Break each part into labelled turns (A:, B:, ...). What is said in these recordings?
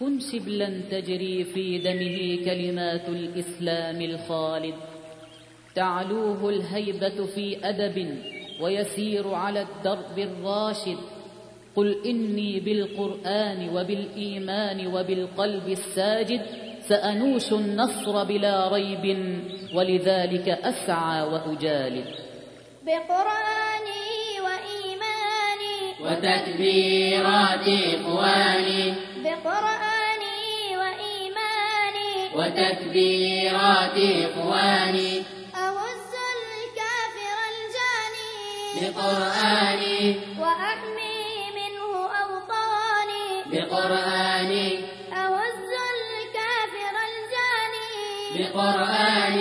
A: كن شبلا تجري في دمه كلمات الإسلام الخالد تعلوه الهيبة في أدب ويسير على الدرب الراشد قل إني بالقرآن وبالإيمان وبالقلب الساجد سأنوش النصر بلا ريب ولذلك أسعى وأجالد
B: بقرآني وإيماني
C: وتكبيرات إخواني
B: بقرآني وإيماني
C: وتكبيرات إخواني
B: أهز الكافر الجاني
C: بقرآني
B: وأحمي منه أوطاني
C: بقرآني
B: أهز الكافر الجاني
C: بقرآني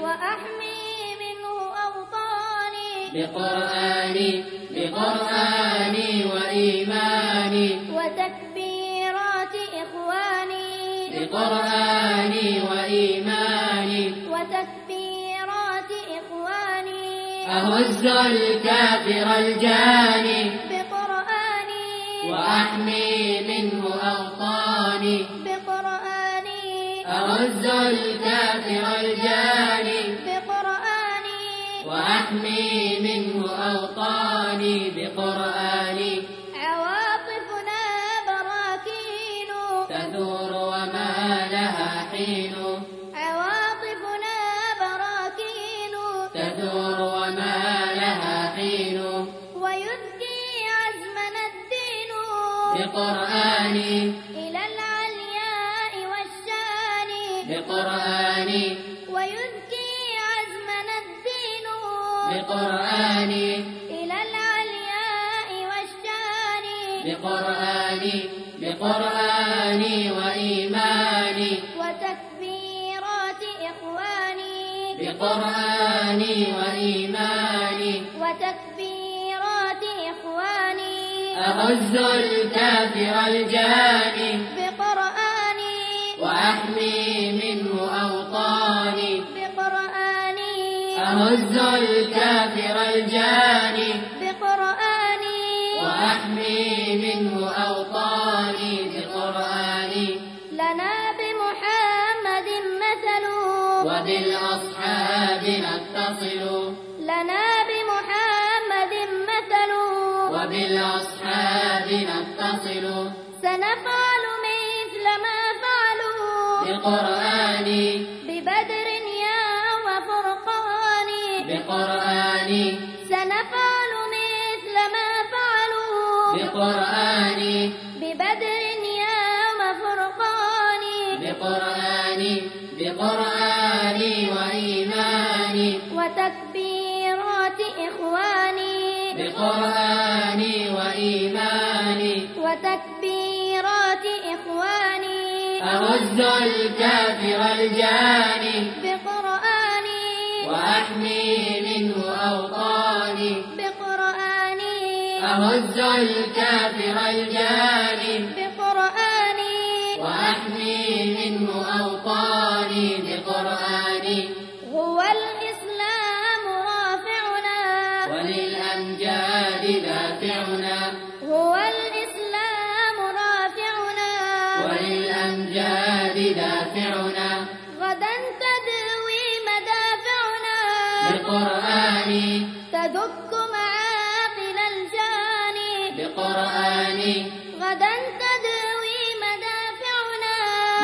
B: وأحمي منه أوطاني
C: بقرآني بقرآني وإيماني
B: وتكبيرات إخواني
C: بقرآني وإيماني
B: وتكبيرات إخواني
C: أهز الكافر الجاني
B: بقرآني
C: وأحمي منه أوطاني
B: بقرآني
C: أهز الكافر الجاني
B: بقرآني
C: وأحمي منه أوطاني بقرآني
B: عواطفنا براكين
C: تثور وما لها حين
B: عواطفنا براكين
C: تثور وما لها حين
B: ويزكي عزمنا الدين
C: بقرآني
B: إلى العلياء والشان
C: بقرآني
B: ويزكي عزمنا الدين
C: بقرآني
B: إلى العلياء والشان
C: بقرآني بقرآني وإيماني
B: وتكبيرات إخواني
C: بقرآني وإيماني
B: وتكبيرات إخواني
C: أعز الكافر الجاني
B: بقرآني
C: وأحمي منه أوطاني
B: بقرآني
C: أعز الكافر الجاني
B: بقرآني
C: وأحمي منه أوطاني بقرآني
B: لنا بمحمد مثل
C: وبالأصحاب نتصل
B: لنا بمحمد مثل
C: وبالأصحاب نتصل
B: سنفعل مثل ما فعلوا
C: بقرآني
B: ببدر يا وفرقان
C: بقرآني
B: سنفعل مثل ما فعلوا
C: بقرآني
B: ببدر يا وفرقان
C: بقرآني بقرآني وإيماني
B: وتكبيرات إخواني
C: بقرآني وإيماني
B: وتكبيرات إخواني
C: أعز الكافر الجاني
B: بقرآني
C: وأحمي منه أوطاني
B: بقرآني
C: أعز الكافر الجاني
B: بقرآني
C: وأحمي منه أوطاني بقرآني
B: هو الإسلام رافعنا
C: وللأمجاد دافعنا
B: هو الإسلام رافعنا
C: وللأمجاد دافعنا
B: غدا تدوي مدافعنا
C: بقرآني
B: تدك معاقل الجاني
C: بقرآني
B: غدا تدوي مدافعنا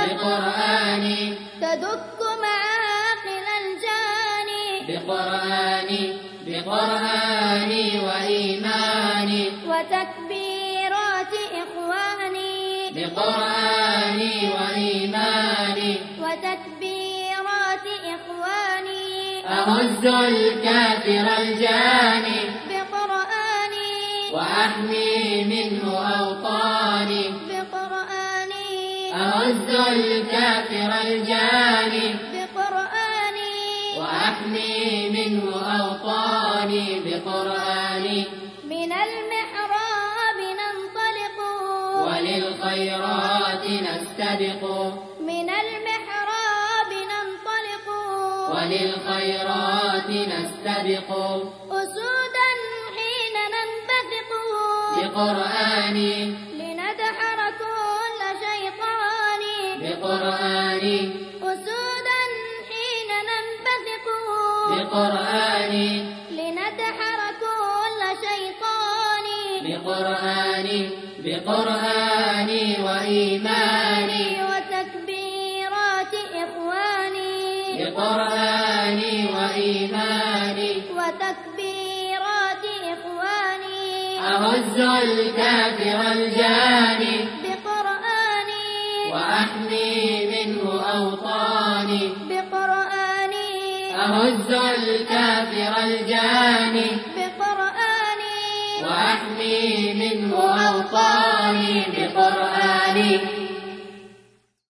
C: بقرآني
B: تدك معاقل الجاني
C: بقرآني بقرآني وإيماني
B: وتكبيرات إخواني
C: بقرآني وإيماني
B: وتكبيرات إخواني
C: أعز الكافر الجاني
B: بقرآني
C: وأحمي منه أوطاني
B: بقرآني
C: أعز الكافر الجاني
B: بقرآني
C: وأحمي منه أوطاني بقرآني
B: من المحراب ننطلق
C: وللخيرات نستبق
B: من المحراب ننطلق
C: وللخيرات نستبق
B: أسودا حين ننبثق
C: بقرآني
B: لندحر كل شيطان
C: بقرآني
B: أسودا حين ننبثق
C: بقرآني
B: لنتحر كل شيطان
C: بقرآني بقرآني وإيماني
B: وتكبيرات إخواني
C: بقرآني وإيماني
B: وتكبيرات إخواني
C: أهز الكافر الجاني
B: بقرآني
C: وأحمي منه أوطاني
B: بقرآني
C: أهز الكافر الجاني
B: بقرآني
C: وأحمي منه أوطاني بقرآني